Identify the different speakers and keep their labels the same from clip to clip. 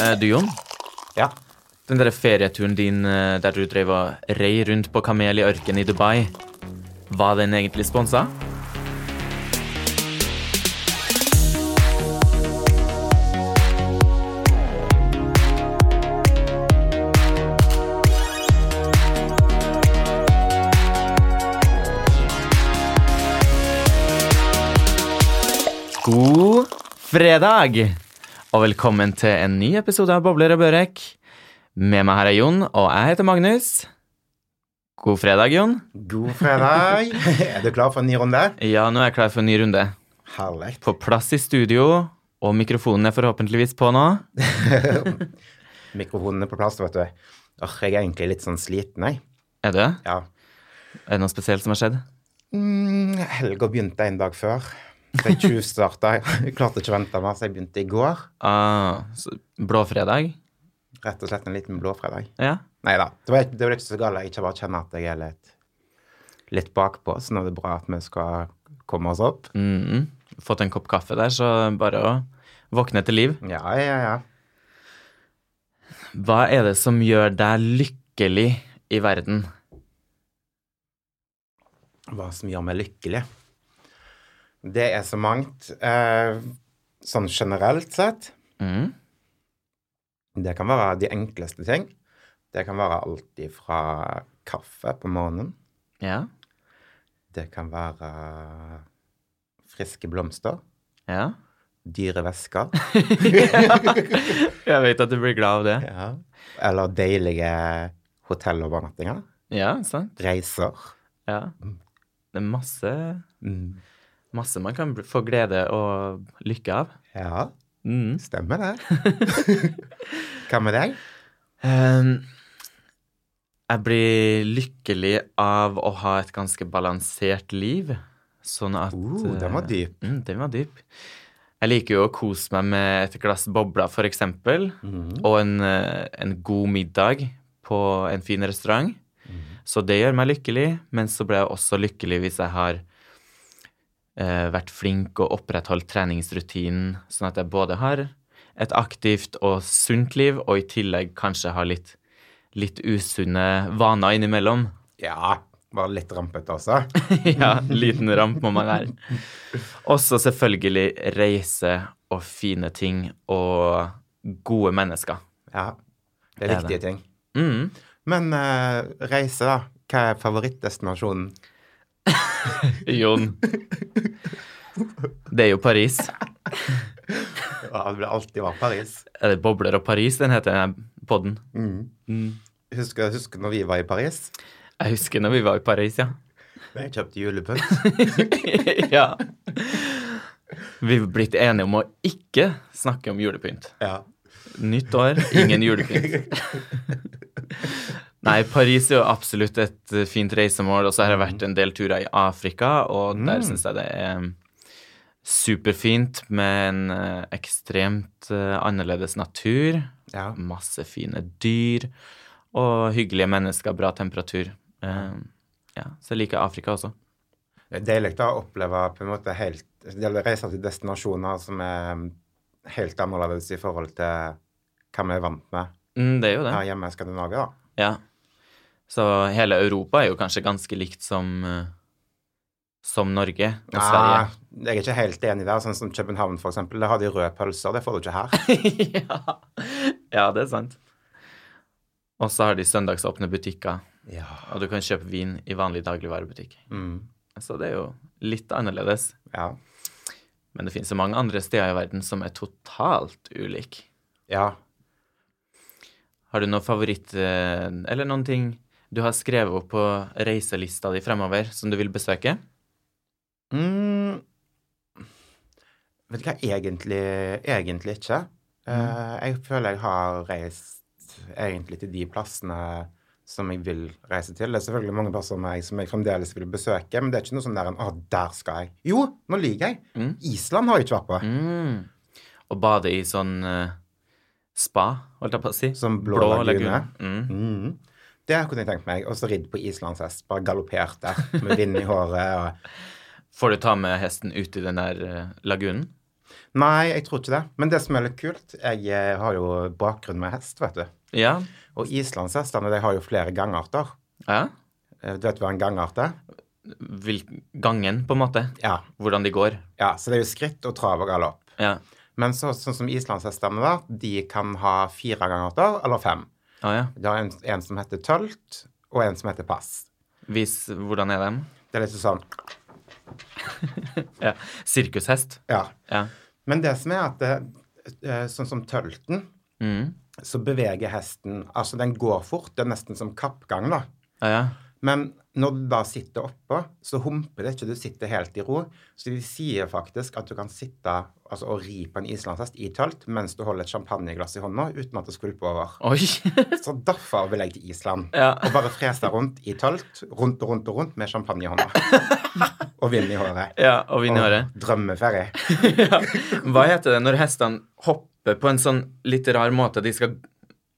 Speaker 1: Eh, Du, Jon,
Speaker 2: Ja.
Speaker 1: den der ferieturen din eh, der du drev og rei rundt på kamel i ørken i Dubai, var den egentlig sponsa? God fredag, og velkommen til en ny episode av Bobler og Børek. Med meg her er Jon, og jeg heter Magnus. God fredag, Jon.
Speaker 2: God fredag. er du klar for en ny runde?
Speaker 1: Ja, nå er jeg klar for en ny runde.
Speaker 2: Herlig.
Speaker 1: På plass i studio, og mikrofonen er forhåpentligvis på nå.
Speaker 2: Mikrofonene på plass, vet du. Åh, jeg er egentlig litt sånn sliten, jeg.
Speaker 1: Er det?
Speaker 2: Ja.
Speaker 1: Er det noe spesielt som har skjedd?
Speaker 2: Mm, Helga begynte en dag før. Så jeg tjuvstarta. Jeg klarte ikke å vente mer, så jeg begynte i går.
Speaker 1: Ah, så Blåfredag?
Speaker 2: Rett og slett en liten blå fredag.
Speaker 1: Ja.
Speaker 2: Nei da. Det var det var ikke så galt. Jeg ikke bare kjenner at jeg er litt, litt bakpå, så nå er det bra at vi skal komme oss opp.
Speaker 1: Mm Fått en kopp kaffe der, så bare å våkne til liv.
Speaker 2: Ja, ja, ja.
Speaker 1: Hva er det som gjør deg lykkelig i verden?
Speaker 2: hva som gjør meg lykkelig. Det er så mangt. Eh, sånn generelt sett.
Speaker 1: Mm.
Speaker 2: Det kan være de enkleste ting. Det kan være alt ifra kaffe på morgenen.
Speaker 1: Ja.
Speaker 2: Det kan være eh, friske blomster.
Speaker 1: Ja.
Speaker 2: Dyre væsker.
Speaker 1: Jeg vet at du blir glad av det.
Speaker 2: Ja. Eller deilige hotellovernattinger.
Speaker 1: Ja, sant?
Speaker 2: Reiser.
Speaker 1: Ja. Det er masse
Speaker 2: Mm.
Speaker 1: Masse man kan bl- få glede og lykke av.
Speaker 2: Ja,
Speaker 1: Mm.
Speaker 2: stemmer det. Hva med deg?
Speaker 1: Ehm, jeg blir lykkelig av å ha et ganske balansert liv. Sånn at
Speaker 2: Uh, den var
Speaker 1: eh,
Speaker 2: dyp.
Speaker 1: Mm, den var dyp. Jeg liker jo å kose meg med et glass bobler, for eksempel,
Speaker 2: Mm.
Speaker 1: og en, eh, en god middag på en fin restaurant. Så det gjør meg lykkelig, men så blir jeg også lykkelig hvis jeg har eh, vært flink og opprettholdt treningsrutinen, sånn at jeg både har et aktivt og sunt liv, og i tillegg kanskje har litt, litt usunne vaner innimellom.
Speaker 2: Ja, var litt rampete også.
Speaker 1: ja, liten ramp må man være. Også selvfølgelig reise og fine ting og gode mennesker.
Speaker 2: Ja, det er
Speaker 1: Det er
Speaker 2: viktige ting.
Speaker 1: Mm.
Speaker 2: Men eh, reise, da. Hva er favorittdestinasjonen?
Speaker 1: Jon. Det er jo Paris.
Speaker 2: Ja, det vil alltid være Paris.
Speaker 1: Er det Bobler og Paris den heter, denne podden?
Speaker 2: Mm. Husker, husker når vi var i Paris?
Speaker 1: Jeg husker når vi var i Paris, ja.
Speaker 2: Jeg kjøpte julepynt.
Speaker 1: ja. Vi er blitt enige om å ikke snakke om julepynt.
Speaker 2: ja.
Speaker 1: Nytt år, ingen julepynt. Nei, Paris er jo absolutt et eh, fint reisemål, og så har jeg vært en del turer i Afrika, og der syns jeg det er mm, superfint med en eh, ekstremt eh, annerledes natur.
Speaker 2: ja.
Speaker 1: Masse fine dyr og hyggelige mennesker, bra temperatur. Eh, ja, så jeg liker Afrika også.
Speaker 2: Det er deilig da, å oppleve på en måte helt Eller reise til destinasjoner som er helt annerledes i forhold til hva vi er vant med
Speaker 1: Mm, det er jo det.
Speaker 2: her hjemme i Skandinavia, da.
Speaker 1: Ja. Så hele Europa er jo kanskje ganske likt som eh, som Norge og
Speaker 2: Nei, jeg er ikke helt enig der. Sånn som København, for eksempel. Der har de røde pølser. Det får du ikke her.
Speaker 1: Sverige. ja. ja, det er sant. Og så har de søndagsåpne butikker,
Speaker 2: Ja.
Speaker 1: og du kan kjøpe vin i vanlig dagligvarebutikk.
Speaker 2: Mm.
Speaker 1: Så det er jo litt annerledes.
Speaker 2: ja.
Speaker 1: Men det finnes jo mange andre steder i verden som er totalt ulike.
Speaker 2: Ja.
Speaker 1: Har du noen favoritt eh, eller noen ting du har skrevet opp på reiselista di fremover som du vil besøke?
Speaker 2: Mm. Vet du hva, egentlig, egentlig ikke. Eh, jeg føler jeg har reist egentlig til de plassene som jeg vil reise til. Det er selvfølgelig mange plasser som jeg, som jeg fremdeles vil besøke, men det er ikke noe sånn der en, å, der skal jeg. Jo, nå lyver jeg.
Speaker 1: Mm.
Speaker 2: Island har jeg ikke vært på.
Speaker 1: Mm. Og bade i sånn eh, spa, holdt jeg på å si. Sånn
Speaker 2: Som Mm. blå lagune.
Speaker 1: Mm.
Speaker 2: Mm. Det kunne jeg tenkt meg. Og så ridd på islandshest, bare galoppert der med vind i håret. Og...
Speaker 1: Får du ta med hesten ut i den der eh, lagunen?
Speaker 2: Nei, jeg tror ikke det. Men det som er litt kult Jeg eh, har jo bakgrunn med hest, vet du.
Speaker 1: Ja.
Speaker 2: Og islandshestene de har jo flere gangarter.
Speaker 1: ja.
Speaker 2: Eh, Du vet hva en gangart er?
Speaker 1: Hvil, gangen, på en måte.
Speaker 2: Ja.
Speaker 1: Hvordan de går.
Speaker 2: ja. Så det er jo skritt og trav og galopp.
Speaker 1: Ja.
Speaker 2: Men så, sånn som islandshestene, da, de kan ha fire gangarter eller fem.
Speaker 1: Ah, ja.
Speaker 2: De har en, en som heter tølt, og en som heter pass.
Speaker 1: Vis hvordan er den.
Speaker 2: Det er litt sånn
Speaker 1: Ja. Sirkushest.
Speaker 2: Ja.
Speaker 1: Ja.
Speaker 2: Men det som er at det, eh, sånn som tølten,
Speaker 1: Mm.
Speaker 2: så beveger hesten Altså, den går fort. Det er nesten som kappgang, da.
Speaker 1: Ja, ja.
Speaker 2: Men når du da sitter oppå, så humper det ikke. Du sitter helt i ro. Så de sier faktisk at du kan sitte altså, og ri på en islandshest i tølt mens du holder et champagneglass i hånda uten at det skvulper over.
Speaker 1: Oi.
Speaker 2: Så derfor vil jeg til Island.
Speaker 1: Ja.
Speaker 2: Og bare frese rundt i tølt, rundt og rundt og rundt med champagne i hånda. og vind i håret.
Speaker 1: ja, og vind i håret.
Speaker 2: Og Drømmeferie.
Speaker 1: ja. Hva heter det når hestene hopper på en sånn litt rar måte? De skal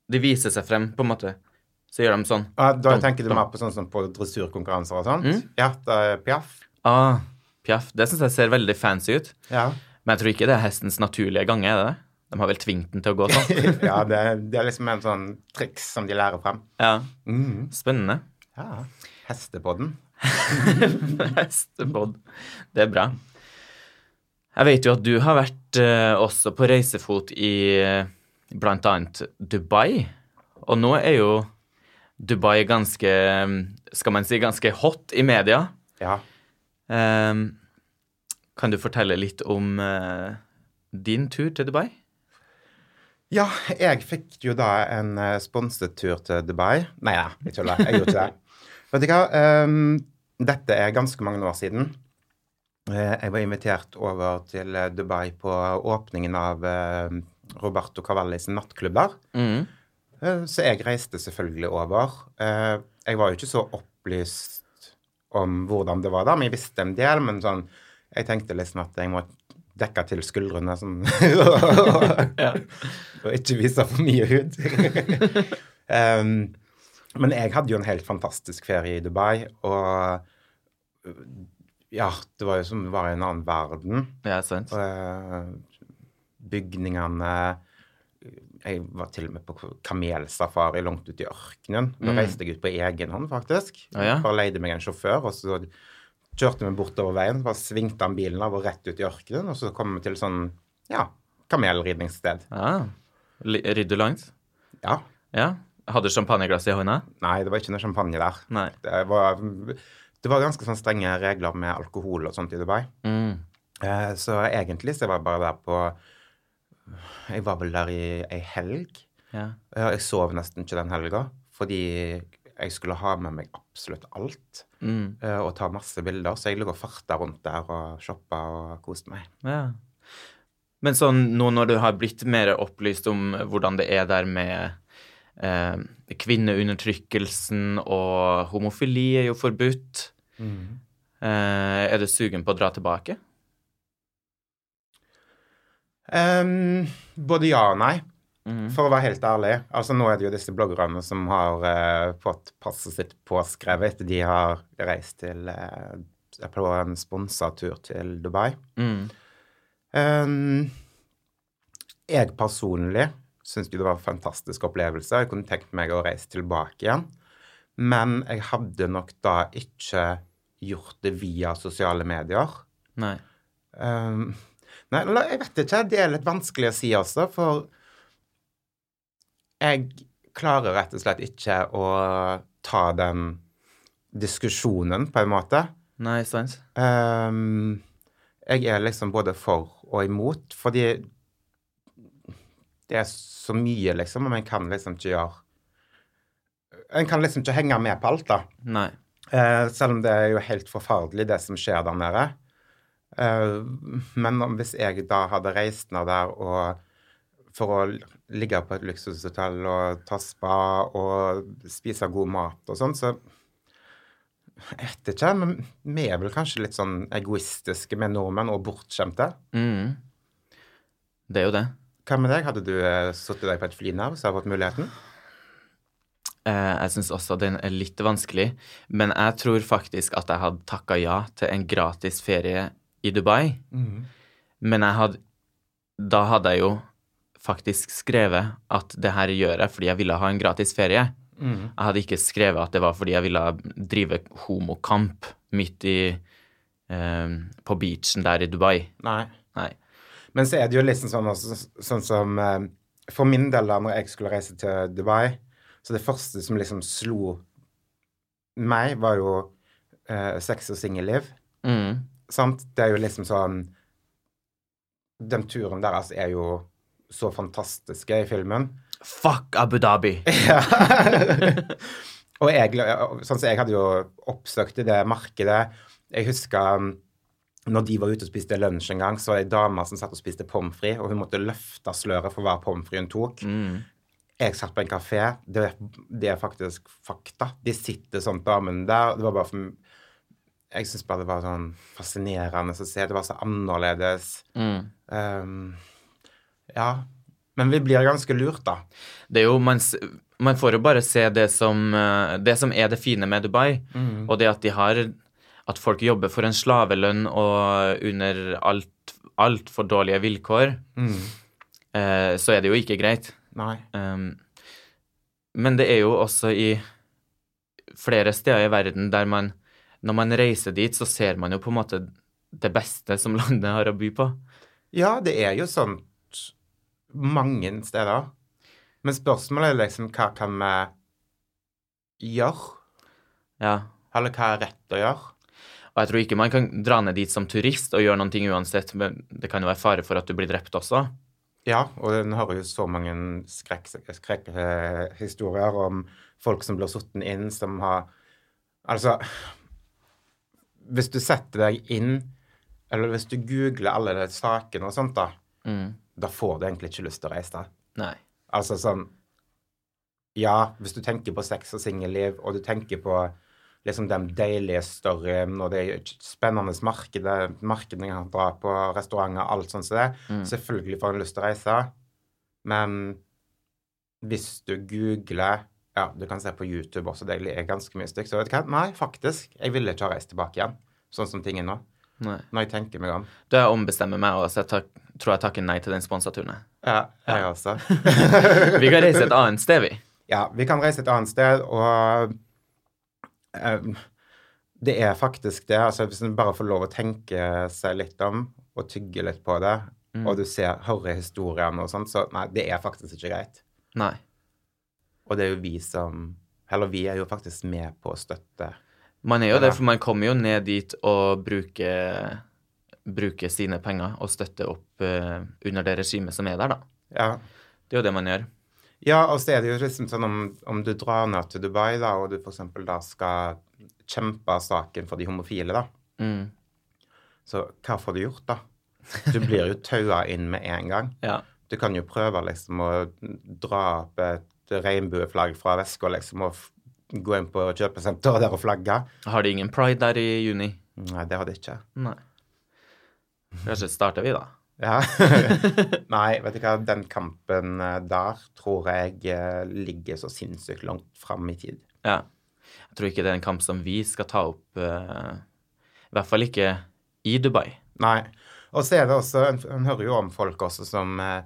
Speaker 1: De viser seg frem, på en måte. Så gjør de sånn.
Speaker 2: Og da tenker du mer på sånn som på dressurkonkurranser og sånt.
Speaker 1: Mm.
Speaker 2: Ja, da, er piaff.
Speaker 1: Ah, Pjaff. Det syns jeg ser veldig fancy ut.
Speaker 2: Ja.
Speaker 1: Men jeg tror ikke det er hestens naturlige gange. er det det? De har vel tvunget den til å gå sånn.
Speaker 2: ja det, det er liksom en sånn triks som de lærer frem.
Speaker 1: Ja,
Speaker 2: Mm.
Speaker 1: Spennende.
Speaker 2: Ja. Hestepodden.
Speaker 1: Hestepod. Det er bra. Jeg vet jo at du har vært eh, også på reisefot i eh, blant annet Dubai. Og nå er jo Dubai ganske, mm, skal man si, ganske hot i media.
Speaker 2: Ja.
Speaker 1: Ehm, kan du fortelle litt om eh, din tur til Dubai?
Speaker 2: Ja, jeg fikk jo da en eh, sponset tur til Dubai. Nei, ja, jeg tuller. Jeg gjorde ikke det. Vet du hva, ehm, dette er ganske mange år siden. Eh, Jeg var invitert over til eh, Dubai på åpningen av eh, Roberto Cavallis nattklubb der.
Speaker 1: Mm.
Speaker 2: Eh, Så jeg reiste selvfølgelig over. Eh, Jeg var jo ikke så opplyst om hvordan det var der, men jeg visste en del. Men sånn, jeg tenkte liksom at jeg må dekke til skuldrene sånn, og ikke vise for mye hud. Em, men jeg hadde jo en helt fantastisk ferie i Dubai, og ja, det var jo som det var i en annen verden.
Speaker 1: Ja, sant.
Speaker 2: Eh, bygningene Jeg var til og med på kamelsafari langt ute i ørkenen. Da reiste jeg ut på egen hånd, faktisk.
Speaker 1: Å, ja.
Speaker 2: Bare leide meg en sjåfør, og så kjørte vi bortover veien. Bare svingte han bilen av og rett ut i ørkenen, og så kom vi til sånn ja, kamelridningssted.
Speaker 1: Ja. Li- Ridder du langt?
Speaker 2: Ja.
Speaker 1: Ja. Hadde champagneglass i hånda?
Speaker 2: Nei, det var ikke noe champagne der.
Speaker 1: Nei.
Speaker 2: Det var, det var ganske sånn strenge regler med alkohol og sånt i Dubai.
Speaker 1: Mm.
Speaker 2: Eh, Så egentlig så var jeg bare der på Jeg var vel der i ei helg.
Speaker 1: Ja.
Speaker 2: Ja, Jeg sov nesten ikke den helga, fordi jeg skulle ha med meg absolutt alt.
Speaker 1: Mm.
Speaker 2: eh, Og ta masse bilder, så jeg lå og farta rundt der og shoppa og koste meg.
Speaker 1: ja. Men sånn nå når du har blitt mer opplyst om hvordan det er der med eh, kvinneundertrykkelsen og homofili er jo forbudt, eh, er du sugen på å dra tilbake?
Speaker 2: Ehm, både ja og nei,
Speaker 1: Mm.
Speaker 2: for å være helt ærlig. Altså Nå er det jo disse bloggerne som har eh, fått passet sitt påskrevet etter de har reist til eh, på en sponsa tur til Dubai.
Speaker 1: Mm.
Speaker 2: Ehm, jeg personlig syns jo det var en fantastisk opplevelse. Jeg kunne tenkt meg å reise tilbake igjen. Men jeg hadde nok da ikke gjort det via sosiale medier.
Speaker 1: Nei.
Speaker 2: Ehm, nei, eller jeg vet ikke. Det er litt vanskelig å si også, for jeg klarer rett og slett ikke å ta den diskusjonen, på en måte.
Speaker 1: Nei, sant.
Speaker 2: Ehm, jeg er liksom både for og imot, fordi det er så mye, liksom, og man kan liksom ikke gjøre En kan liksom ikke henge med på alt, da.
Speaker 1: Nei.
Speaker 2: Eh, selv om det er jo helt forferdelig, det som skjer der nede. Eh, men om, hvis jeg da hadde reist ned der og for å ligge på et luksushotell og ta spa og spise god mat og sånn, så Jeg vet ikke, men vi er vel kanskje litt sånn egoistiske med nordmenn og bortskjemte.
Speaker 1: Mm. Det er jo det.
Speaker 2: Hva med deg? Hadde du eh, sittet deg på et fly nå hvis du hadde fått muligheten?
Speaker 1: Eh, jeg syns også den er litt vanskelig, men jeg tror faktisk at jeg hadde takka ja til en gratis ferie i Dubai. Men jeg hadde da hadde jeg jo faktisk skrevet at det her gjør jeg fordi jeg ville ha en gratis ferie.
Speaker 2: Mm.
Speaker 1: Jeg hadde ikke skrevet at det var fordi jeg ville drive homokamp midt i eh, På beachen der i Dubai.
Speaker 2: Nei.
Speaker 1: Nei.
Speaker 2: Men så er det jo liksom sånn, også, sånn som eh, For min del, da når jeg skulle reise til Dubai, så det første som liksom slo meg, var jo eh, sex og singelliv.
Speaker 1: Mm.
Speaker 2: Sant? Det er jo liksom sånn Den turen deres er jo så fantastiske i filmen.
Speaker 1: Fuck Abu Dhabi!
Speaker 2: Ja. og jeg, sånn som jeg hadde jo oppsøkt det markedet. Jeg husker um, når de var ute og spiste lunsj en gang, så var det ei dame som satt og spiste pommes frites, og hun måtte løfte sløret for hver pommes frites hun tok.
Speaker 1: Mm.
Speaker 2: Jeg satt på en kafé. Det, det er faktisk fakta. De sitter sånn, damene der. Det var bare for Jeg syns bare det var sånn fascinerende å se. Det var så annerledes.
Speaker 1: Mm.
Speaker 2: Um, ja. Men vi blir ganske lurt, da.
Speaker 1: Det er jo, man, s- man får jo bare se det som, eh, det som er det fine med Dubai,
Speaker 2: Mm,
Speaker 1: og det at de har At folk jobber for en slavelønn og under alt altfor dårlige vilkår, eh, så er det jo ikke greit.
Speaker 2: mm. Nei.
Speaker 1: Um, men det er jo også i flere steder i verden der man Når man reiser dit, så ser man jo på en måte det beste som landet har å by på.
Speaker 2: Ja, det er jo sånt mange steder. Men spørsmålet er liksom hva kan vi gjøre?
Speaker 1: Ja.
Speaker 2: Eller hva er rett å gjøre?
Speaker 1: Og jeg tror ikke man kan dra ned dit som turist og gjøre noen ting uansett, men det kan jo være fare for at du blir drept også.
Speaker 2: Ja, og en hører jo så mange skrekkhistorier skrekk, eh, historier om folk som blir satt inn, som har Altså Hvis du setter deg inn, eller hvis du googler alle de sakene og sånt, da,
Speaker 1: Mm.
Speaker 2: da får du egentlig ikke lyst til å reise.
Speaker 1: Nei.
Speaker 2: Altså sånn Ja, hvis du tenker på sex og singelliv, og du tenker på liksom den deilige storyen og det spennende markedet, markedene kan dra på, restauranter, alt sånt som det, selvfølgelig får en lyst til å reise. Men hvis du googler Ja, du kan se på YouTube også, det er ganske mye stygt. Så vet du hva? Nei, faktisk. Jeg ville ikke ha reist tilbake igjen, sånn som ting er nå.
Speaker 1: Nei.
Speaker 2: Når jeg tenker meg om.
Speaker 1: Da jeg ombestemmer meg, og så jeg tak, tror jeg takker nei til den sponsaturen.
Speaker 2: Ja, jeg også.
Speaker 1: Vi kan reise et annet sted, vi.
Speaker 2: Ja, vi kan reise et annet sted, og eh, det er faktisk det. Altså, hvis en bare får lov å tenke seg litt om og tygge litt på det, og du ser, hører historiene og sånt, så nei, det er faktisk ikke greit.
Speaker 1: Nei.
Speaker 2: Og det er jo vi som Eller vi er jo faktisk med på å støtte.
Speaker 1: Man er jo
Speaker 2: Ja.
Speaker 1: det, for man kommer jo ned dit og bruker, bruker sine penger og støtter opp eh, under det regimet som er der, da.
Speaker 2: Ja.
Speaker 1: Det er jo det man gjør.
Speaker 2: Ja, og så er det jo liksom sånn om, om du drar ned til Dubai, da, og du for eksempel da skal kjempe saken for de homofile, da.
Speaker 1: Mm.
Speaker 2: Så hva får du gjort, da? Du blir jo taua inn med en gang.
Speaker 1: Ja.
Speaker 2: Du kan jo prøve liksom å dra opp et regnbueflagg fra veska liksom, og f- gå inn på kjøpesenteret der og flagge.
Speaker 1: Har de ingen pride der i juni?
Speaker 2: Nei, det hadde jeg ikke.
Speaker 1: Nei. Kanskje starter vi, da.
Speaker 2: Ja. Nei, vet du hva, den kampen eh, der tror jeg eh, ligger så sinnssykt langt fram i tid.
Speaker 1: Ja. Jeg tror ikke det er en kamp som vi skal ta opp, eh, i hvert fall ikke i Dubai.
Speaker 2: Nei. Og så er det også En, en hører jo om folk også som eh,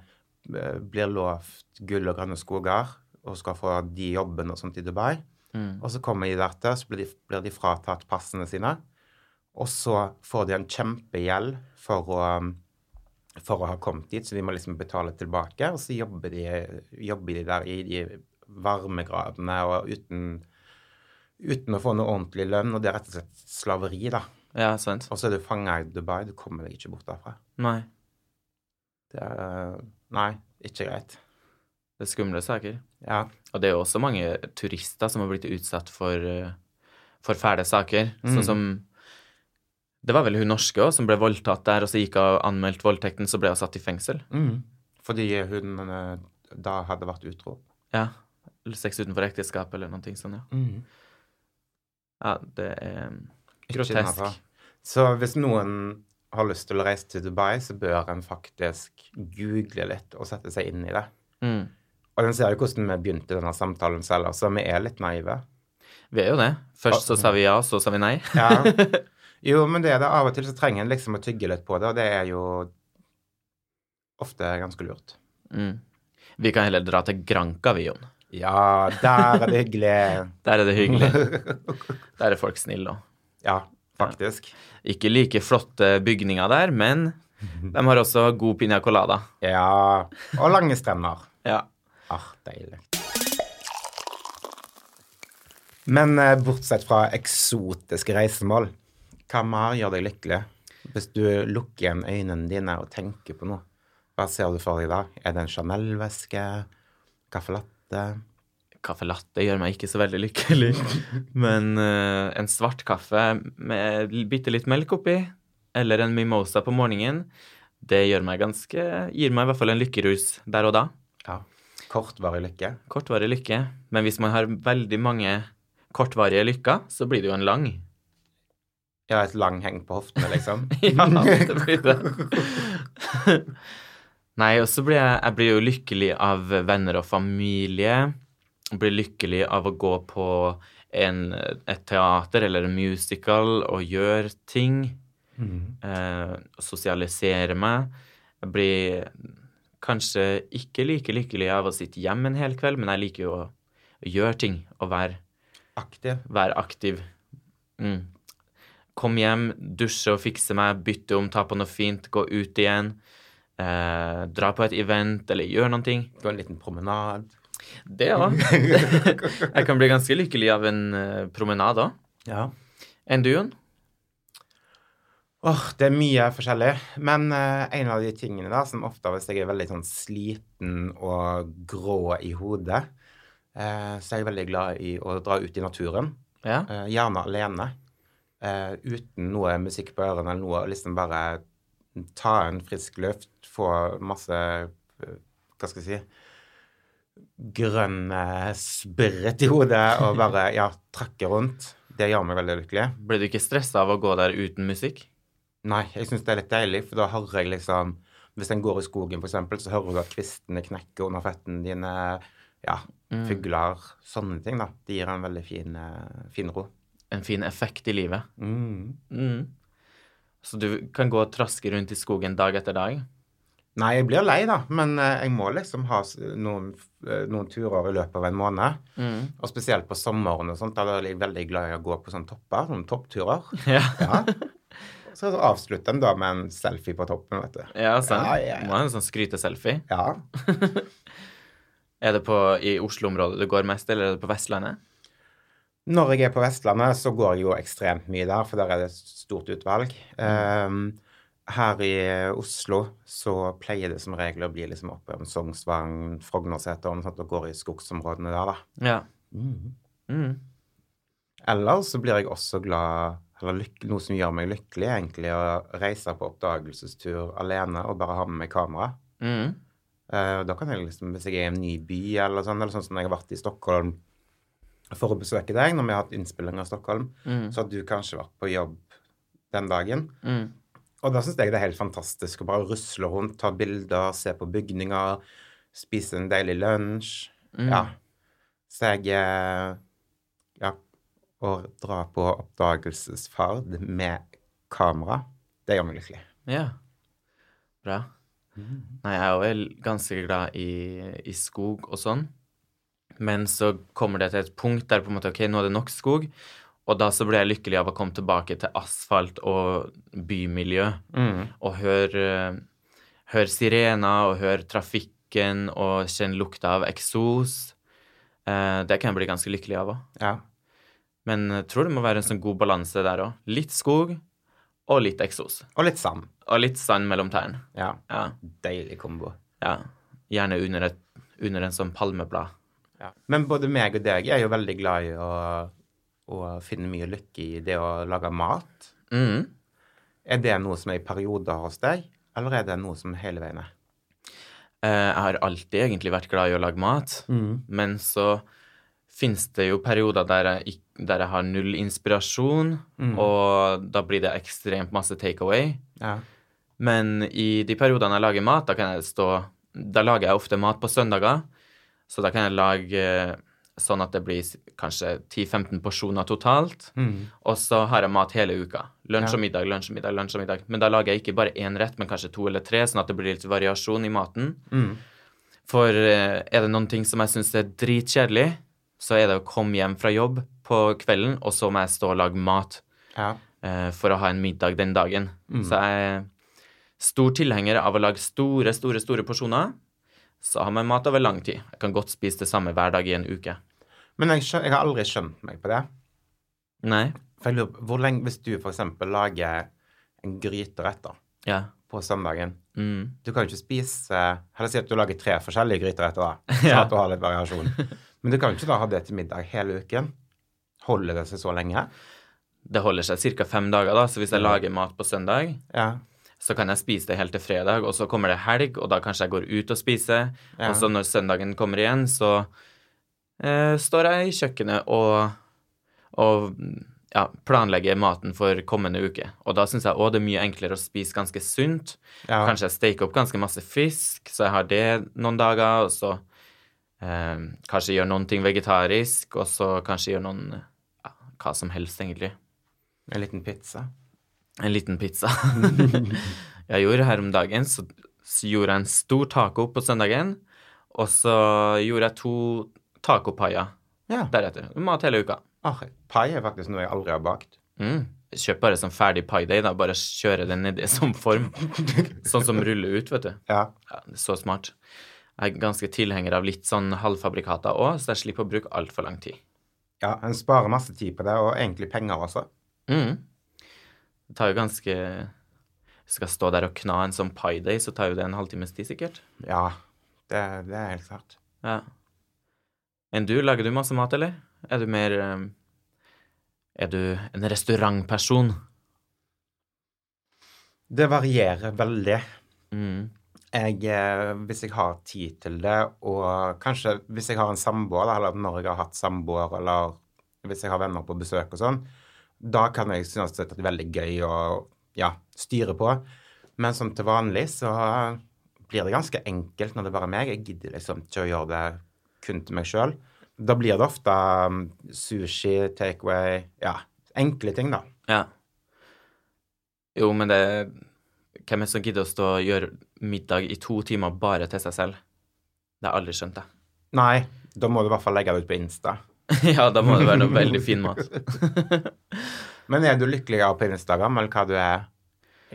Speaker 2: eh, blir lovt gull og grønne skoger og skal få de jobbene og sånt i Dubai. Og så kommer de der til, så blir de, blir de fratatt passene sine. Og så får de en kjempegjeld for å, for å ha kommet dit, så de må liksom betale tilbake. Og så jobber de, jobber de der i de varmegradene og uten, uten å få noe ordentlig lønn. Og det er rett og slett slaveri, da.
Speaker 1: Ja, sant?
Speaker 2: Og så er du fanga i Dubai. Du kommer deg ikke bort derfra.
Speaker 1: Nei.
Speaker 2: Det er eh, Nei, ikke greit.
Speaker 1: Det er skumle saker.
Speaker 2: Ja.
Speaker 1: Og det er jo også mange turister som har blitt utsatt for, eh, for fæle saker.
Speaker 2: Mm.
Speaker 1: Sånn som Det var vel hun norske også, som ble voldtatt der, og så gikk hun og anmeldte voldtekten, så ble hun satt i fengsel.
Speaker 2: Mm. Fordi hun eh, da hadde vært utro.
Speaker 1: Ja. Eller Sex utenfor ekteskap eller noe sånt, ja.
Speaker 2: Mm.
Speaker 1: ja. Det er eh,
Speaker 2: Ikke
Speaker 1: grotesk.
Speaker 2: innenfor. Så hvis noen har lyst til å reise til Dubai, så bør en faktisk google litt og sette seg inn i det.
Speaker 1: Mm.
Speaker 2: Og den ser jo hvordan vi begynte denne samtalen selv, så vi er litt naive.
Speaker 1: Vi er jo det. Først så sa vi ja, så sa vi nei.
Speaker 2: Ja. Jo, men det er det. Av og til så trenger en liksom å tygge litt på det, og det er jo ofte ganske lurt.
Speaker 1: Mm. Vi kan heller dra til Granka, vi, Jon.
Speaker 2: Ja, der er det hyggelig.
Speaker 1: Der er det hyggelig. Der er folk snille òg.
Speaker 2: Ja, faktisk.
Speaker 1: Ikke like flotte bygninger der, men de har også god piña colada.
Speaker 2: Ja. Og lange strender.
Speaker 1: Ja.
Speaker 2: Ah, deilig. Men eh, bortsett fra eksotiske reisemål, hva mer gjør deg lykkelig? Hvis du lukker igjen øynene dine og tenker på noe, hva ser du for deg da? Er det en Chanel-veske? Caffè latte?
Speaker 1: Kaffe latte gjør meg ikke så veldig lykkelig, men eh, en svart kaffe med bitte litt melk oppi, eller en mimosa på morgenen, det gjør meg ganske, gir meg i hvert fall en lykkerus der og da.
Speaker 2: Ja. Kortvarig lykke?
Speaker 1: Kortvarig lykke, men hvis man har veldig mange kortvarige lykker, så blir det jo en lang.
Speaker 2: Ja, et lang heng på hoftene, liksom?
Speaker 1: Ja, det blir det. Nei, og så blir jeg, jeg blir jo lykkelig av venner og familie. Jeg blir lykkelig av å gå på en, et teater eller en musical og gjøre ting.
Speaker 2: Mm.
Speaker 1: Eh, sosialisere meg. Jeg blir kanskje ikke like lykkelig av å sitte hjemme en hel kveld, men jeg liker jo å gjøre ting og være
Speaker 2: Aktiv.
Speaker 1: Vær aktiv. Mm. Kom hjem, dusje og fikse meg, bytte om, ta på noe fint, gå ut igjen. Eh, dra på et event eller gjøre noen ting.
Speaker 2: Gå en liten promenad.
Speaker 1: Det òg. Jeg kan bli ganske lykkelig av en eh, promenade òg.
Speaker 2: Ja.
Speaker 1: Enn du, Jon?
Speaker 2: Åh, det er mye forskjellig. Men eh, en av de tingene da, som ofte hvis jeg er veldig sånn sliten og grå i hodet, eh, så er jeg veldig glad i å dra ut i naturen.
Speaker 1: Ja.
Speaker 2: eh, gjerne alene. eh, uten noe musikk på ørene eller noe. Liksom bare ta en frisk luft, få masse eh, Hva skal jeg si Grønn eh, spritt i hodet og bare ja, trakke rundt. Det gjør meg veldig lykkelig.
Speaker 1: Ble du ikke stressa av å gå der uten musikk?
Speaker 2: Nei, jeg syns det er litt deilig, for da hører jeg liksom Hvis en går i skogen, for eksempel, så hører du at kvistene knekker under føttene dine. Ja,
Speaker 1: Mm.
Speaker 2: fugler. Sånne ting, da. Det gir en veldig fin, eh, fin ro.
Speaker 1: En fin effekt i livet.
Speaker 2: Mm.
Speaker 1: Mm. Så du kan gå og traske rundt i skogen dag etter dag?
Speaker 2: Nei, jeg blir lei, da, men eh, jeg må liksom ha s- noen, eh, noen turer i løpet av en måned.
Speaker 1: Mm.
Speaker 2: Og spesielt på sommeren og sånt, da er jeg veldig glad i å gå på sånne topper, sånne toppturer.
Speaker 1: Ja,
Speaker 2: Ja. Så avslutte en da med en selfie på toppen, vet du.
Speaker 1: ja sant?
Speaker 2: Ja, ja, ja.
Speaker 1: Må ha en sånn skryteselfie.
Speaker 2: Ja.
Speaker 1: Er det på, i Oslo-området du går mest, eller er det på Vestlandet?
Speaker 2: Når jeg er på Vestlandet, så går jeg jo ekstremt mye der, for der er det stort utvalg. Ehm, her i Oslo så pleier det som regel å bli liksom oppe om Sognsvann, Frognerseteren, sånn at det går i skogsområdene der, da.
Speaker 1: Ja. Mm.
Speaker 2: Eller så blir jeg også glad eller lyk- Noe som gjør meg lykkelig, er egentlig, å reise på oppdagelsestur alene og bare ha med meg kamera.
Speaker 1: Mm.
Speaker 2: Eh, og da kan jeg liksom, hvis jeg er i en ny by eller sånn, eller sånn som jeg har vært i Stockholm for å besøke deg, når vi har hatt innspillinger i Stockholm,
Speaker 1: Mm.
Speaker 2: så har du kanskje vært på jobb den dagen.
Speaker 1: Mm.
Speaker 2: Og da syns jeg det er helt fantastisk å bare rusle rundt, ta bilder, se på bygninger, spise en deilig lunsj.
Speaker 1: Mm.
Speaker 2: Ja. Så jeg eh, Ja. Å dra på oppdagelsesferd med kamera, det gjør meg lykkelig.
Speaker 1: Ja. Bra. Nei, jeg er jo vel ganske glad i, i skog og sånn. Men så kommer det til et punkt der på en måte, ok, nå er det nok skog. Og da så ble jeg lykkelig av å komme tilbake til asfalt og bymiljø.
Speaker 2: Mm.
Speaker 1: Og høre hør sirener og høre trafikken og kjenne lukta av eksos. Eh, det kan jeg bli ganske lykkelig av òg.
Speaker 2: Ja.
Speaker 1: Men jeg tror det må være en sånn god balanse der òg. Litt skog og litt eksos.
Speaker 2: Og litt sand.
Speaker 1: Og litt sand mellom tærne.
Speaker 2: Ja.
Speaker 1: Ja.
Speaker 2: Deilig kombo.
Speaker 1: ja. Gjerne under, et, under en sånn palmeblad.
Speaker 2: Men både meg og deg er jo veldig glad i å, å finne mye lykke i det å lage mat.
Speaker 1: Mm.
Speaker 2: Er det noe som er i perioder hos deg, eller er det noe som hele veien er?
Speaker 1: Eh, jeg har alltid egentlig vært glad i å lage mat, men så fins det jo perioder der jeg, ikk- der jeg har null inspirasjon,
Speaker 2: Mm.
Speaker 1: og da blir det ekstremt masse takeaway.
Speaker 2: Ja.
Speaker 1: Men i de periodene jeg lager mat, da kan jeg stå Da lager jeg ofte mat på søndager. Så da kan jeg lage sånn at det blir s- kanskje 10-15 porsjoner totalt.
Speaker 2: Mm.
Speaker 1: Og så har jeg mat hele uka. Lunsj
Speaker 2: Ja.
Speaker 1: og middag, lunsj og middag, lunsj og middag. Men da lager jeg ikke bare én rett, men kanskje to eller tre, sånn at det blir litt variasjon i maten.
Speaker 2: Mm.
Speaker 1: For eh, er det noen ting som jeg syns er dritkjedelig, så er det å komme hjem fra jobb på kvelden, og så må jeg stå og lage mat
Speaker 2: Ja.
Speaker 1: eh, for å ha en middag den dagen. Så jeg er stor tilhenger av å lage store, store, store porsjoner. Så har man mat over lang tid. Jeg kan godt spise det samme hver dag i en uke.
Speaker 2: Men jeg, skjøn, jeg har aldri skjønt meg på det.
Speaker 1: Nei?
Speaker 2: For jeg lurer på, hvor lenge, Hvis du f.eks. lager en gryterett da,
Speaker 1: Ja.
Speaker 2: på søndagen
Speaker 1: Mm.
Speaker 2: Du kan jo ikke spise Eller si at du lager tre forskjellige gryteretter, da. Så
Speaker 1: Ja.
Speaker 2: at du har litt variasjon. Men du kan jo ikke da ha det til middag hele uken. Holder det seg så lenge?
Speaker 1: Det holder seg ca. fem dager, da. Så hvis jeg
Speaker 2: Ja.
Speaker 1: lager mat på søndag,
Speaker 2: Ja.
Speaker 1: så kan jeg spise det helt til fredag, og så kommer det helg, og da kanskje jeg går ut og spiser.
Speaker 2: Ja.
Speaker 1: Og så Altså, når søndagen kommer igjen, så eh, står jeg i kjøkkenet og, og ja, planlegger maten for kommende uke. Og da syns jeg òg det er mye enklere å spise ganske sunt.
Speaker 2: ja.
Speaker 1: Kanskje jeg steker opp ganske masse fisk, så jeg har det noen dager, og så eh, kanskje gjør noen ting vegetarisk, og så kanskje gjør noen ja, hva som helst, egentlig.
Speaker 2: En liten pizza.
Speaker 1: En liten pizza. jeg gjorde her om dagen, så, så gjorde jeg en stor taco på søndagen. Og så gjorde jeg to tacopaier
Speaker 2: Ja.
Speaker 1: deretter. Mat hele uka.
Speaker 2: Ah, pai er faktisk noe jeg aldri har bakt.
Speaker 1: Mm. Kjøp bare sånn ferdig pai day, da. Bare kjøre den nedi som form. sånn som ruller ut, vet du.
Speaker 2: Ja.
Speaker 1: Ja, det er så smart. Jeg er ganske tilhenger av litt sånn halvfabrikata òg, så jeg slipper å bruke altfor lang tid.
Speaker 2: ja. En sparer masse tid på det, og egentlig penger også.
Speaker 1: Mm. Det tar jo ganske Skal jeg stå der og kna en sånn pai day, så tar jo det en halvtimes tid, sikkert.
Speaker 2: Ja. Det, det er helt klart.
Speaker 1: Ja. Enn du, lager du masse mat, eller? Er du mer eh, Er du en restaurantperson?
Speaker 2: Det varierer veldig.
Speaker 1: Mm.
Speaker 2: Jeg, eh, hvis jeg har tid til det, og kanskje hvis jeg har en samboer, da, eller når jeg har hatt samboer, eller hvis jeg har venner på besøk og sånn, da kan jeg synes at det er veldig gøy å ja, styre på. Men som til vanlig så blir det ganske enkelt når det bare er meg. Jeg gidder liksom ikke å gjøre det kun til meg sjøl. Da blir det ofte mm, sushi, takeaway, ja, enkle ting, da.
Speaker 1: Ja. Jo, men det Hvem er det som gidder å stå og gjøre middag i to timer bare til seg selv? Det har jeg aldri skjønt, jeg.
Speaker 2: Nei, da må du i hvert fall legge det ut på Insta.
Speaker 1: ja, da må det være noe veldig fin mat.
Speaker 2: Men er du lykkeligere på Instagram eller hva du er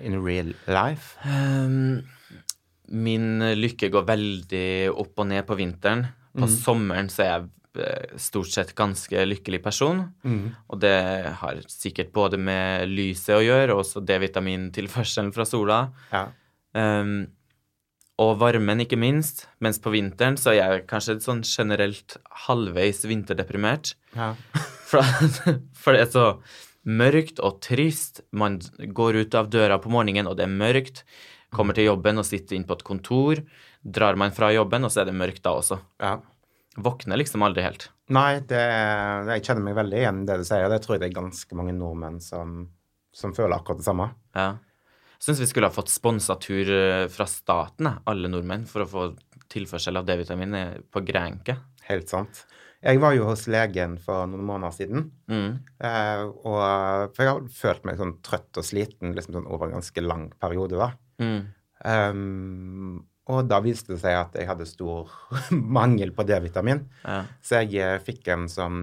Speaker 2: in real life?
Speaker 1: Ehm, min lykke går veldig opp og ned på vinteren. På sommeren så er jeg eh, stort sett ganske lykkelig person. Og det har sikkert både med lyset å gjøre, og også D-vitamintilførselen fra sola.
Speaker 2: Ja.
Speaker 1: Ehm, og varmen, ikke minst. Mens på vinteren så er jeg kanskje sånn generelt halvveis vinterdeprimert.
Speaker 2: ja.
Speaker 1: For, for det er så mørkt og trist. Man går ut av døra på morgenen, og det er mørkt. Kommer til jobben og sitter inne på et kontor. Drar man fra jobben, og så er det mørkt da også.
Speaker 2: ja.
Speaker 1: Våkner liksom aldri helt.
Speaker 2: Nei, det, jeg kjenner meg veldig igjen i det du sier. Det tror jeg det er ganske mange nordmenn som, som føler akkurat det samme.
Speaker 1: Ja. Syns vi skulle ha fått sponsa tur eh, fra staten, jeg, alle nordmenn, for å få tilførsel av D-vitamin eh, på Grænke.
Speaker 2: Helt sant. Jeg var jo hos legen for noen måneder siden.
Speaker 1: Mm.
Speaker 2: Eh, og, for jeg har følt meg sånn trøtt og sliten liksom sånn over en ganske lang periode. da.
Speaker 1: Mm.
Speaker 2: Ehm, og da viste det seg at jeg hadde stor mangel på D-vitamin.
Speaker 1: Ja.
Speaker 2: Så jeg eh, fikk en sånn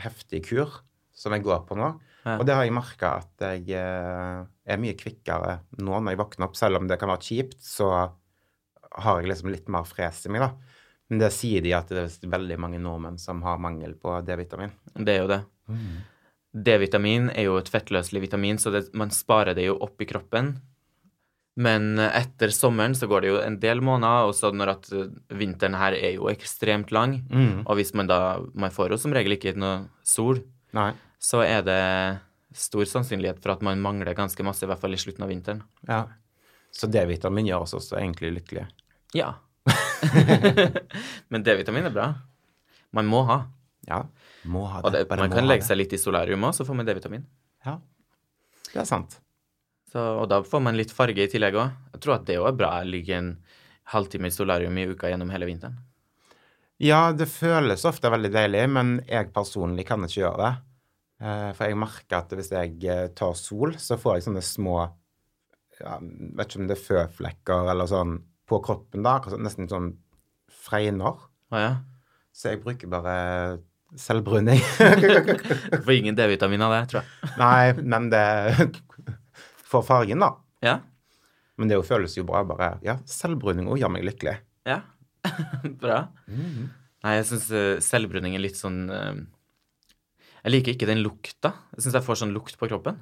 Speaker 2: heftig kur som jeg går på nå.
Speaker 1: Ja.
Speaker 2: Og det har jeg merka at jeg eh, er mye kvikkere nå når jeg våkner opp. Selv om det kan være kjipt, så har jeg liksom litt mer fres i meg, da. Men det sier de at det er visst veldig mange nordmenn som har mangel på D-vitamin.
Speaker 1: Det er jo det.
Speaker 2: Mm.
Speaker 1: D-vitamin er jo et fettløselig vitamin, så det, man sparer det jo opp i kroppen. Men eh, etter sommeren så går det jo en del måneder, og så når at eh, vinteren her er jo ekstremt lang,
Speaker 2: Mm.
Speaker 1: og hvis man da Man får jo som regel ikke noe sol,
Speaker 2: Nei.
Speaker 1: så er det stor sannsynlighet for at man mangler ganske masse, i hvert fall i slutten av vinteren.
Speaker 2: Ja. Så D-vitamin gjør oss også egentlig lykkelige.
Speaker 1: Ja. Men D-vitamin er bra. Man må ha.
Speaker 2: Ja. Må ha
Speaker 1: Og
Speaker 2: det.
Speaker 1: det,
Speaker 2: bare
Speaker 1: man
Speaker 2: må
Speaker 1: kan
Speaker 2: ha
Speaker 1: legge
Speaker 2: det.
Speaker 1: seg litt i solarium òg, så får man D-vitamin.
Speaker 2: Ja. Det er sant.
Speaker 1: Så, og da får man litt farge i tillegg òg. Jeg tror at det òg er bra. Jeg ligger en halvtime i solarium i uka gjennom hele vinteren.
Speaker 2: Ja, det føles ofte veldig deilig, men jeg personlig kan ikke gjøre det. Eh, For jeg merker at hvis jeg eh, tar sol, så får jeg sånne små ja, Vet ikke om det er føflekker eller sånn på kroppen, da. akkurat sånn- Nesten sånn fregner.
Speaker 1: Å ja.
Speaker 2: Så jeg bruker bare selvbruning.
Speaker 1: Du får ingen D-vitamin av det, tror jeg.
Speaker 2: Nei, men det får fargen, da.
Speaker 1: Ja.
Speaker 2: Men det jo føles jo bra. Bare ja, selvbruning òg gjør meg lykkelig.
Speaker 1: ja. Bra. Nei, jeg syns selvbruning er litt sånn eh, Jeg liker ikke den lukta. Jeg syns jeg får sånn lukt på kroppen.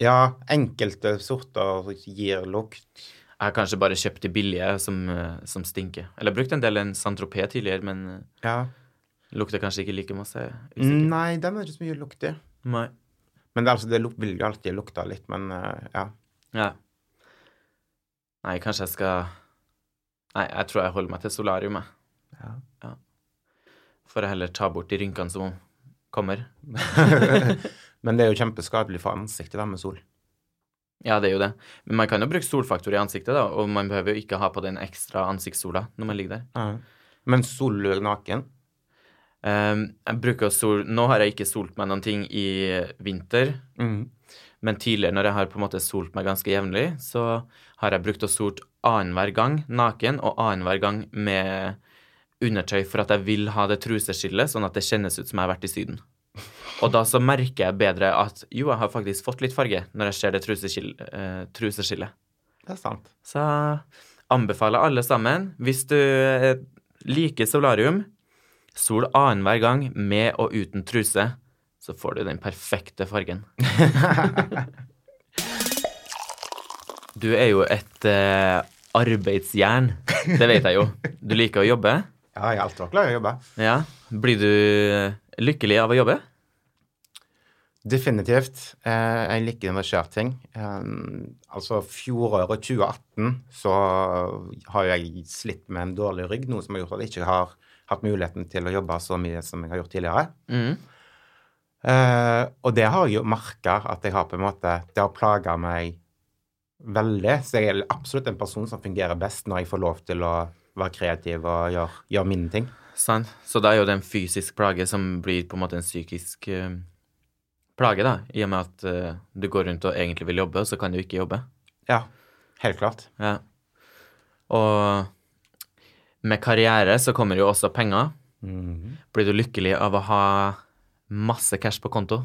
Speaker 2: Ja, enkelte sorter gir lukt.
Speaker 1: Jeg har kanskje bare kjøpt de billige som, eh, som stinker. Eller jeg har brukt en del en Saint-Tropez tidligere, men eh,
Speaker 2: Ja.
Speaker 1: lukter kanskje ikke like masse. jeg er Usikker.
Speaker 2: Nei, den er ikke så mye lukt i.
Speaker 1: Nei.
Speaker 2: Men det, er altså, det luk- vil jo alltid lukte litt, men eh, ja.
Speaker 1: Ja. Nei, kanskje jeg skal Nei, jeg tror jeg holder meg til solarium, jeg.
Speaker 2: Ja.
Speaker 1: Får jeg heller ta bort de rynkene som kommer.
Speaker 2: men det er jo kjempeskadelig for ansiktet, det med sol.
Speaker 1: Ja, det er jo det. Men man kan jo bruke solfaktor i ansiktet, da, og man behøver jo ikke ha på den ekstra ansiktssola når man ligger der.
Speaker 2: Men sol lå naken.
Speaker 1: Ehm, jeg bruker å sol... Nå har jeg ikke solt meg noen ting i vinter, men tidligere når jeg har på en måte solt meg ganske jevnlig, så har jeg brukt å solt annenhver gang naken og annenhver gang med undertøy for at jeg vil ha det truseskillet, sånn at det kjennes ut som jeg har vært i Syden. Og da så merker jeg bedre at jo, jeg har faktisk fått litt farge når jeg ser det truseskill- eh, truseskillet.
Speaker 2: Det er sant.
Speaker 1: Så anbefaler alle sammen, hvis du eh, liker solarium, sol annenhver gang med og uten truse, så får du den perfekte fargen. Du er jo et eh, arbeidsjern. Det vet jeg jo. Du liker å jobbe.
Speaker 2: Ja, jeg er alltid glad i å jobbe.
Speaker 1: Ja. Blir du eh, lykkelig av å jobbe?
Speaker 2: Definitivt. Eh, jeg liker når det skjer ting. Eh, altså fjoråret 2018 så har jeg slitt med en dårlig rygg, noe som har gjort at jeg ikke har hatt muligheten til å jobbe så mye som jeg har gjort tidligere.
Speaker 1: Mm.
Speaker 2: Eh, og det har jeg jo merka at jeg har på en måte Det har plaga meg veldig. Så jeg er absolutt en person som fungerer best når jeg får lov til å være kreativ og gjøre, gjøre mine ting.
Speaker 1: Sant. Så da er jo det en fysisk plage som blir på en måte en psykisk eh, plage, da. I og med at eh, du går rundt og egentlig vil jobbe, og så kan du ikke jobbe.
Speaker 2: Ja, helt klart.
Speaker 1: Ja. Og med karriere så kommer jo også penger. Blir du lykkelig av å ha masse cash på konto?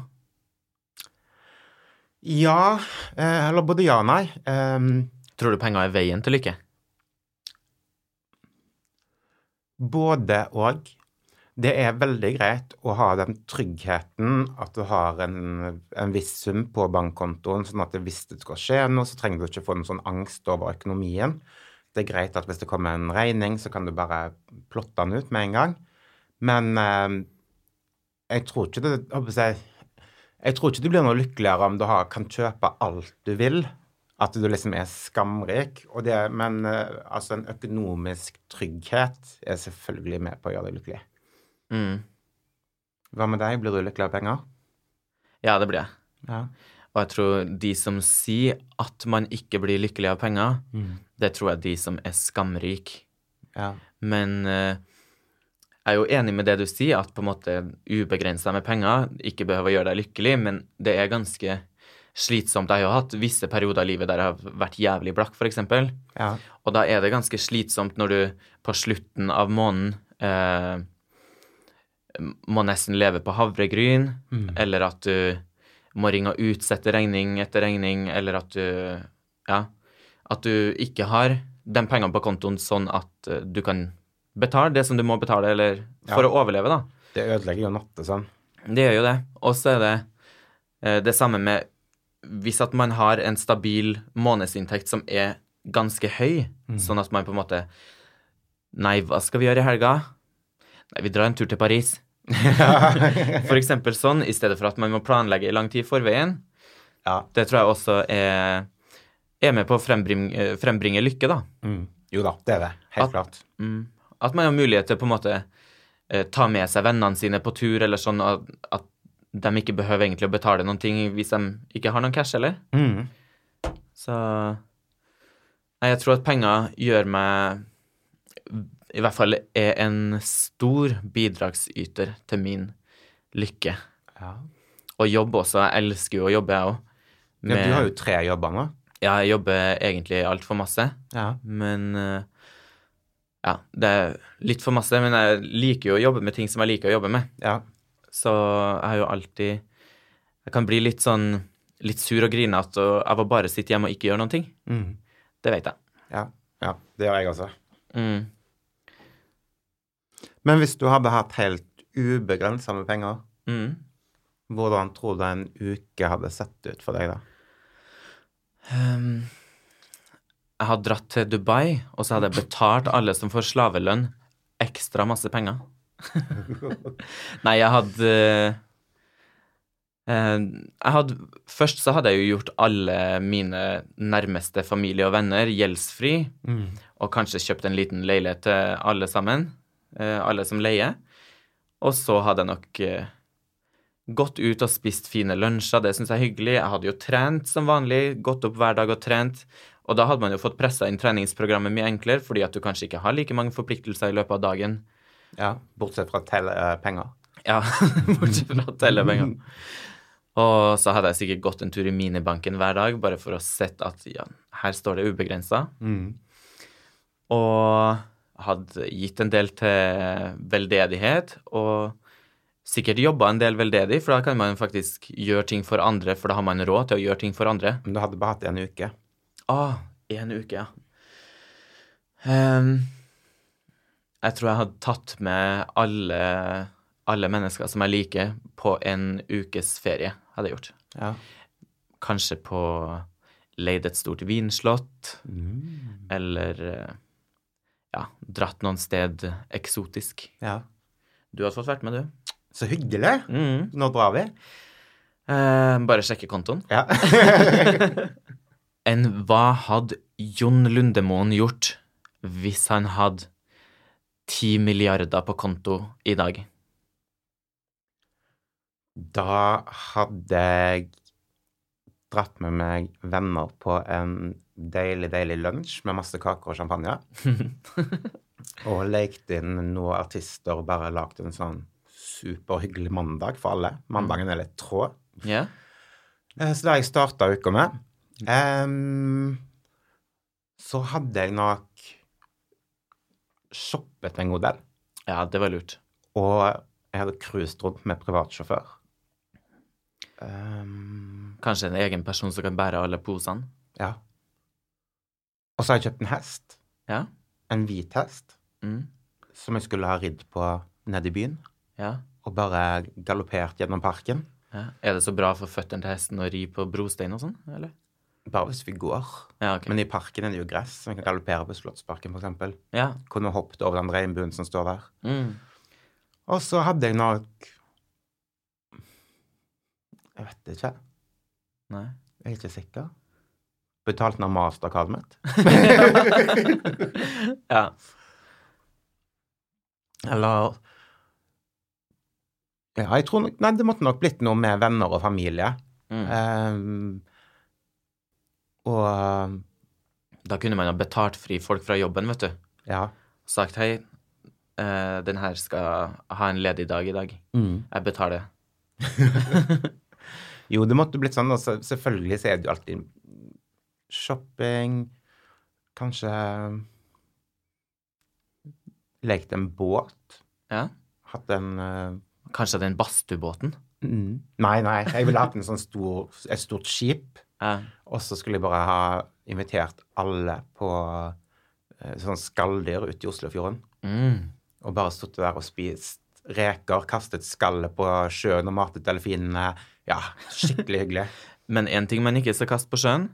Speaker 2: Ja, eh, eller både ja og nei. Eh,
Speaker 1: Tror du penger er veien til lykke?
Speaker 2: Både og. Det er veldig greit å ha den tryggheten at du har en, en viss sum på bankkontoen, sånn at hvis det skal skje noe, så trenger du ikke få en sånn angst over økonomien. Det er greit at hvis det kommer en regning, så kan du bare plotte den ut med en gang. Men eh, jeg tror ikke det jeg, håper å si, jeg tror ikke du blir noe lykkeligere om du har, kan kjøpe alt du vil. At du liksom er skamrik. Og det, men eh, altså en økonomisk trygghet er selvfølgelig med på å gjøre deg lykkelig.
Speaker 1: Mm.
Speaker 2: Hva med deg? Blir du lykkelig av penger?
Speaker 1: Ja, det blir jeg.
Speaker 2: Ja.
Speaker 1: Og jeg tror de som sier at man ikke blir lykkelig av penger,
Speaker 2: Mm.
Speaker 1: det tror jeg er de som er skamrike.
Speaker 2: ja.
Speaker 1: Men eh, jeg er jo enig med det du sier, at på en måte ubegrensa med penger ikke behøver å gjøre deg lykkelig, men det er ganske slitsomt. Jeg har jo hatt visse perioder i livet der jeg har vært jævlig blakk, f.eks.
Speaker 2: ja.
Speaker 1: Og da er det ganske slitsomt når du på slutten av måneden eh, må nesten leve på havregryn, eller at du må ringe og utsette regning etter regning, eller at du Ja. At du ikke har de pengene på kontoen sånn at eh, du kan betale det som du må betale, eller for
Speaker 2: Ja.
Speaker 1: å overleve, da.
Speaker 2: Det ødelegger jo natta sånn.
Speaker 1: Det gjør jo det. Og så er det eh, det samme med Hvis at man har en stabil månedsinntekt som er ganske høy, sånn at man på en måte Nei, hva skal vi gjøre i helga? Nei, vi drar en tur til Paris. For eksempel sånn, i stedet for at man må planlegge i lang tid i forveien.
Speaker 2: Ja.
Speaker 1: Det tror jeg også er, er med på å frembring, eh, frembringe lykke, da.
Speaker 2: Mm. Jo da, det er det. Helt
Speaker 1: At-
Speaker 2: klart.
Speaker 1: Mm. At man har mulighet til å på en måte eh, ta med seg vennene sine på tur, eller sånn at, at de ikke behøver egentlig å betale noen ting hvis de ikke har noen cash, eller?
Speaker 2: Mm.
Speaker 1: Så Nei, jeg tror at penger gjør meg i hvert fall er en stor bidragsyter til min lykke.
Speaker 2: Ja.
Speaker 1: Og jobb også. Jeg elsker jo å jobbe, jeg òg.
Speaker 2: Ja, du har jo tre jobber nå.
Speaker 1: Ja, jeg jobber egentlig altfor masse,
Speaker 2: Ja.
Speaker 1: men eh, Ja, det er litt for masse, men jeg liker jo å jobbe med ting som jeg liker å jobbe med.
Speaker 2: ja.
Speaker 1: Så jeg har jo alltid Jeg kan bli litt sånn litt sur og grinete av å bare sitte hjemme og ikke gjøre noen ting.
Speaker 2: Mm.
Speaker 1: Det vet jeg.
Speaker 2: ja. Ja, det gjør jeg også.
Speaker 1: Mm.
Speaker 2: Men hvis du hadde hatt helt ubegrensa med penger,
Speaker 1: Mm.
Speaker 2: hvordan tror du en uke hadde sett ut for deg, da?
Speaker 1: Ehm, jeg har dratt til Dubai, og så hadde jeg betalt alle som får slavelønn, ekstra masse penger. Nei, jeg hadde eh, jeg hadde, Først så hadde jeg jo gjort alle mine nærmeste familie og venner gjeldsfri,
Speaker 2: Mm.
Speaker 1: og kanskje kjøpt en liten leilighet til alle sammen, eh, alle som leier. Og så hadde jeg nok eh, gått ut og spist fine lunsjer, det syns jeg er hyggelig. Jeg hadde jo trent som vanlig, gått opp hver dag og trent. Og da hadde man jo fått pressa inn treningsprogrammet mye enklere, fordi at du kanskje ikke har like mange forpliktelser i løpet av dagen.
Speaker 2: Ja, Bortsett fra telle eh, penger.
Speaker 1: Ja, bortsett fra tellepenger. Og så hadde jeg sikkert gått en tur i minibanken hver dag, bare for å sett at ja, her står det ubegrensa.
Speaker 2: Mm.
Speaker 1: og hadde gitt en del til veldedighet, og sikkert jobba en del veldedig, for da kan man faktisk gjøre ting for andre, for da har man råd til å gjøre ting for andre.
Speaker 2: Men du hadde bare hatt en uke.
Speaker 1: Ah, en uke, ja. Ehm, jeg tror jeg hadde tatt med alle, alle mennesker som jeg liker, på en ukes ferie, hadde jeg gjort.
Speaker 2: Ja.
Speaker 1: Kanskje på leid et stort vinslott,
Speaker 2: Mm.
Speaker 1: eller eh, ja, dratt noen sted eksotisk.
Speaker 2: ja.
Speaker 1: Du hadde fått vært med, du.
Speaker 2: Så hyggelig!
Speaker 1: Mm.
Speaker 2: Nå drar vi.
Speaker 1: Eh, bare sjekke kontoen.
Speaker 2: Ja.
Speaker 1: Enn hva hadde Jon Lundemoen gjort hvis han hadde ti milliarder på konto i dag?
Speaker 2: Da hadde jeg dratt med meg venner på en deilig, deilig lunsj med masse kaker og champagne. og lekt inn noen artister og bare lagd en sånn superhyggelig mandag for alle. Mandagen er litt trå.
Speaker 1: Ja?
Speaker 2: Eh, Så det har jeg starta uka med. Em, så hadde jeg nok shoppet en god del.
Speaker 1: ja, det var lurt.
Speaker 2: Og jeg hadde cruiset rundt med privatsjåfør. Ehm,
Speaker 1: Kanskje en egen person som kan bære alle posene?
Speaker 2: ja. Og så har jeg kjøpt en hest.
Speaker 1: Ja?
Speaker 2: En hvit hest
Speaker 1: Mm.
Speaker 2: som jeg skulle ha ridd på nede i byen.
Speaker 1: ja?
Speaker 2: Og bare galoppert gjennom parken.
Speaker 1: Ja. Er det så bra for føttene til hesten å ri på brostein og sånn, eller?
Speaker 2: Bare hvis vi går.
Speaker 1: Ja, ok.
Speaker 2: Men i parken er det jo gress, så vi kan galoppere på Slottsparken f.eks.
Speaker 1: Ja.
Speaker 2: Kunne hoppet over den regnbuen som står der.
Speaker 1: Mm.
Speaker 2: Og så hadde jeg nok Jeg vet ikke.
Speaker 1: Nei.
Speaker 2: Jeg er ikke sikker. Betalt ned mastercardet mitt.
Speaker 1: ja.
Speaker 2: Eller Ja, jeg tror nok Nei, det måtte nok blitt noe med venner og familie.
Speaker 1: Mm.
Speaker 2: Ehm, og eh,
Speaker 1: Da kunne man ha betalt fri folk fra jobben, vet du.
Speaker 2: ja.
Speaker 1: Sagt hei, eh, den her skal ha en ledig dag i dag. Jeg betaler.
Speaker 2: Jo, det måtte blitt sånn. Og så- selvfølgelig så er det jo alltid shopping Kanskje eh, lekt en båt.
Speaker 1: Ja.
Speaker 2: Hatt en eh,
Speaker 1: Kanskje den badstuebåten?
Speaker 2: Nei, nei. Jeg ville hatt en sånn stor, et stort skip.
Speaker 1: Ja.
Speaker 2: Og så skulle jeg bare ha invitert alle på eh, sånn skalldyr ute i Oslofjorden.
Speaker 1: Mm.
Speaker 2: Og bare stått der og spist reker, kastet skallet på sjøen og matet delfinene. Ja, skikkelig hyggelig.
Speaker 1: Men én ting man ikke skal kaste på sjøen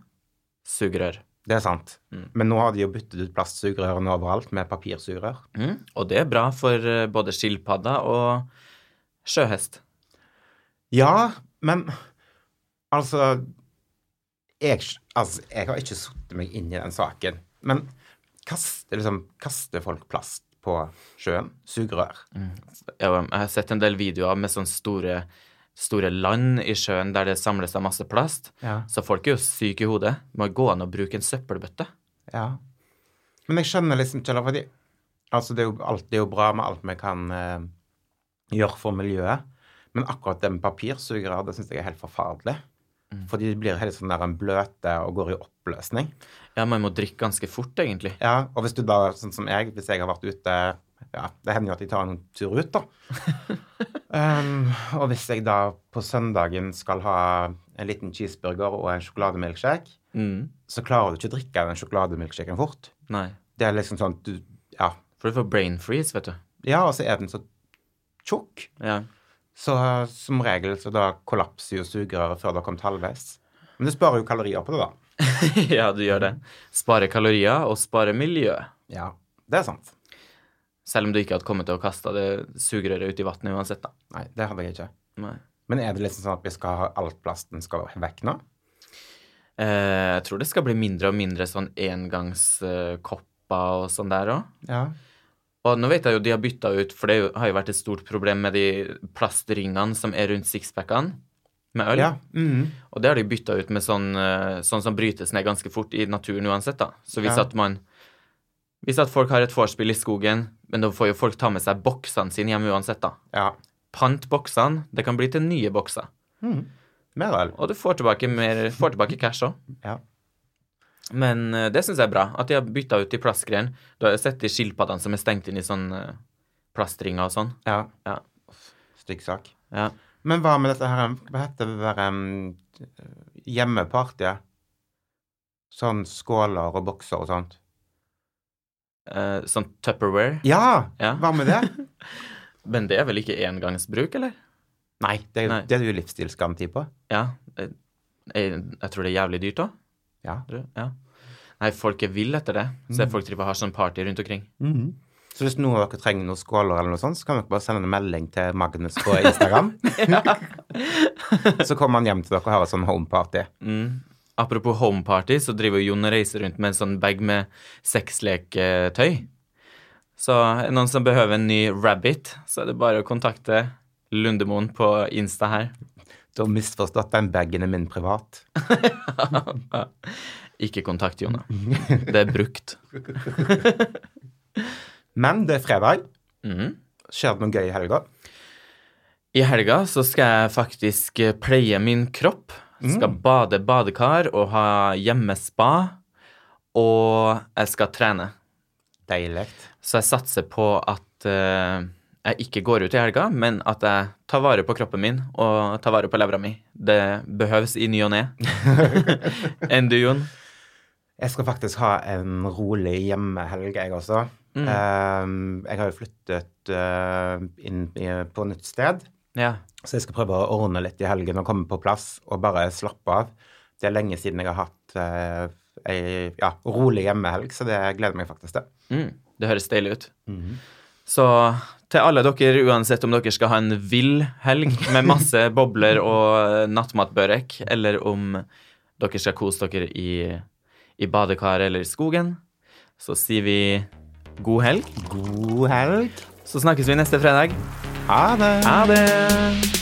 Speaker 1: sugerør.
Speaker 2: Det er sant.
Speaker 1: Mm.
Speaker 2: Men nå har de jo byttet ut plastsugerørene overalt med papirsugerør.
Speaker 1: Mm. Og det er bra for eh, både skilpadda og sjøhest.
Speaker 2: Ja, men altså jeg, altså, jeg har ikke satt meg inn i den saken. Men kaster liksom, kaster folk plast på sjøen? Sugerør?
Speaker 1: Jeg jeg har sett en del videoer med sånne store, store land i sjøen der det samler seg masse plast.
Speaker 2: Ja.
Speaker 1: Så folk er jo syke i hodet. Må gå an å bruke en søppelbøtte.
Speaker 2: Ja. Men jeg skjønner liksom ikke heller, fordi Altså, det er jo, alt, det er jo bra med alt vi kan eh, gjøre for miljøet. Men akkurat det med papirsugere, det syns jeg er helt forferdelig. For de blir helt sånn der en bløte og går i oppløsning.
Speaker 1: Ja, man må drikke ganske fort, egentlig.
Speaker 2: Ja, og hvis du da, sånn som jeg, hvis jeg har vært ute ja, Det hender jo at jeg tar en tur ut, da. um, og hvis jeg da på søndagen skal ha en liten cheeseburger og en sjokolademilkshake,
Speaker 1: Mm.
Speaker 2: så klarer du ikke å drikke den sjokolademilkshaken fort.
Speaker 1: Nei.
Speaker 2: Det er liksom sånn at du Ja.
Speaker 1: For du får brain freeze, vet du.
Speaker 2: Ja, og så er den så tjukk.
Speaker 1: Ja.
Speaker 2: Så uh, som regel så da kollapser jo sugerøret før det har kommet halvveis. Men du sparer jo kalorier på det, da.
Speaker 1: ja, du gjør det. Spare kalorier og spare miljø.
Speaker 2: Ja, det er sant.
Speaker 1: Selv om du ikke hadde kommet til å kaste det sugerøret ut i vannet uansett, da.
Speaker 2: Nei, det hadde jeg ikke.
Speaker 1: Nei.
Speaker 2: Men er det liksom sånn at vi skal ha alt plasten skal vekk nå?
Speaker 1: Eh, jeg tror det skal bli mindre og mindre sånn engangskopper og sånn der òg.
Speaker 2: Ja.
Speaker 1: Og nå vet jeg jo de har bytta ut, for det er jo- har jo vært et stort problem med de plastringene som er rundt sixpackene med øl.
Speaker 2: Ja. mhm.
Speaker 1: Og det har de bytta ut med sånn, eh, sånn som brytes ned ganske fort i naturen uansett, da. Så hvis
Speaker 2: Ja.
Speaker 1: at man Hvis at folk har et vorspiel i skogen, men da får jo folk ta med seg boksene sine hjem uansett, da.
Speaker 2: ja.
Speaker 1: Pant boksene. Det kan bli til nye bokser.
Speaker 2: Mer øl.
Speaker 1: Og du får tilbake, mer, får tilbake cash òg.
Speaker 2: Ja.
Speaker 1: Men eh, det syns jeg er bra, at de har bytta ut de plastgreiene. Du har jo sett de skilpaddene som er stengt inn i sånn eh, plastringer og sånn.
Speaker 2: Ja.
Speaker 1: Ja.
Speaker 2: Stygg sak.
Speaker 1: Ja.
Speaker 2: Men hva med dette her Hva heter det der um, hjemmepartyet? Sånn skåler og bokser og sånt.
Speaker 1: Eh, sånn Tupperware.
Speaker 2: Ja!
Speaker 1: Ja.
Speaker 2: Hva med det?
Speaker 1: Men det er vel ikke engangsbruk, eller?
Speaker 2: Nei, det, er-
Speaker 1: Nei.
Speaker 2: det er det jo livsstilsgaranti på.
Speaker 1: Ja. eh, Jeg, jeg tror det er jævlig dyrt, da.
Speaker 2: Ja.
Speaker 1: Tror jeg. Ja. Nei, folk er ville etter det. Så jeg folk driver og har sånn party rundt omkring.
Speaker 2: Så hvis noen av dere trenger noen skåler eller noe sånt, så kan dere bare sende en melding til Magnus på Instagram. så kommer han hjem til dere og har et sånn homeparty.
Speaker 1: Apropos homeparty, så driver jo Jon og reiser rundt med en sånn bag med sexleketøy. Så er det noen som behøver en ny rabbit, så er det bare å kontakte Lundemoen på Insta her.
Speaker 2: Du har misforstått den bagen er min privat.
Speaker 1: Ikke kontakt Jona. Det er brukt.
Speaker 2: Men det er fredag.
Speaker 1: Mhm.
Speaker 2: Skjer det noe gøy i helga?
Speaker 1: I helga så skal jeg faktisk eh, pleie min kropp. Skal bade badekar og ha hjemmespa. Og jeg skal trene.
Speaker 2: Deilig.
Speaker 1: Så jeg satser på at eh, jeg ikke går ut i helga, men at jeg tar vare på kroppen min og tar vare på levra mi. Det behøves i ny og ne. Enn du, Jon?
Speaker 2: Jeg skal faktisk ha en rolig hjemmehelg, jeg også.
Speaker 1: Mm.
Speaker 2: Ehm, jeg har jo flyttet eh, inn i, på nytt sted,
Speaker 1: Ja.
Speaker 2: så jeg skal prøve å ordne litt i helgen og komme på plass og bare slappe av. Det er lenge siden jeg har hatt uh, ei ja, rolig hjemmehelg, så det gleder jeg meg faktisk til.
Speaker 1: Mm, det høres deilig ut. Så til alle dere, uansett om dere skal ha en vill helg med masse bobler og eh, nattmatbørek, eller om dere skal kose dere i, i badekaret eller i skogen, så sier vi god helg.
Speaker 2: God helg.
Speaker 1: Så snakkes vi neste fredag.
Speaker 2: Ha det.
Speaker 1: Ha det!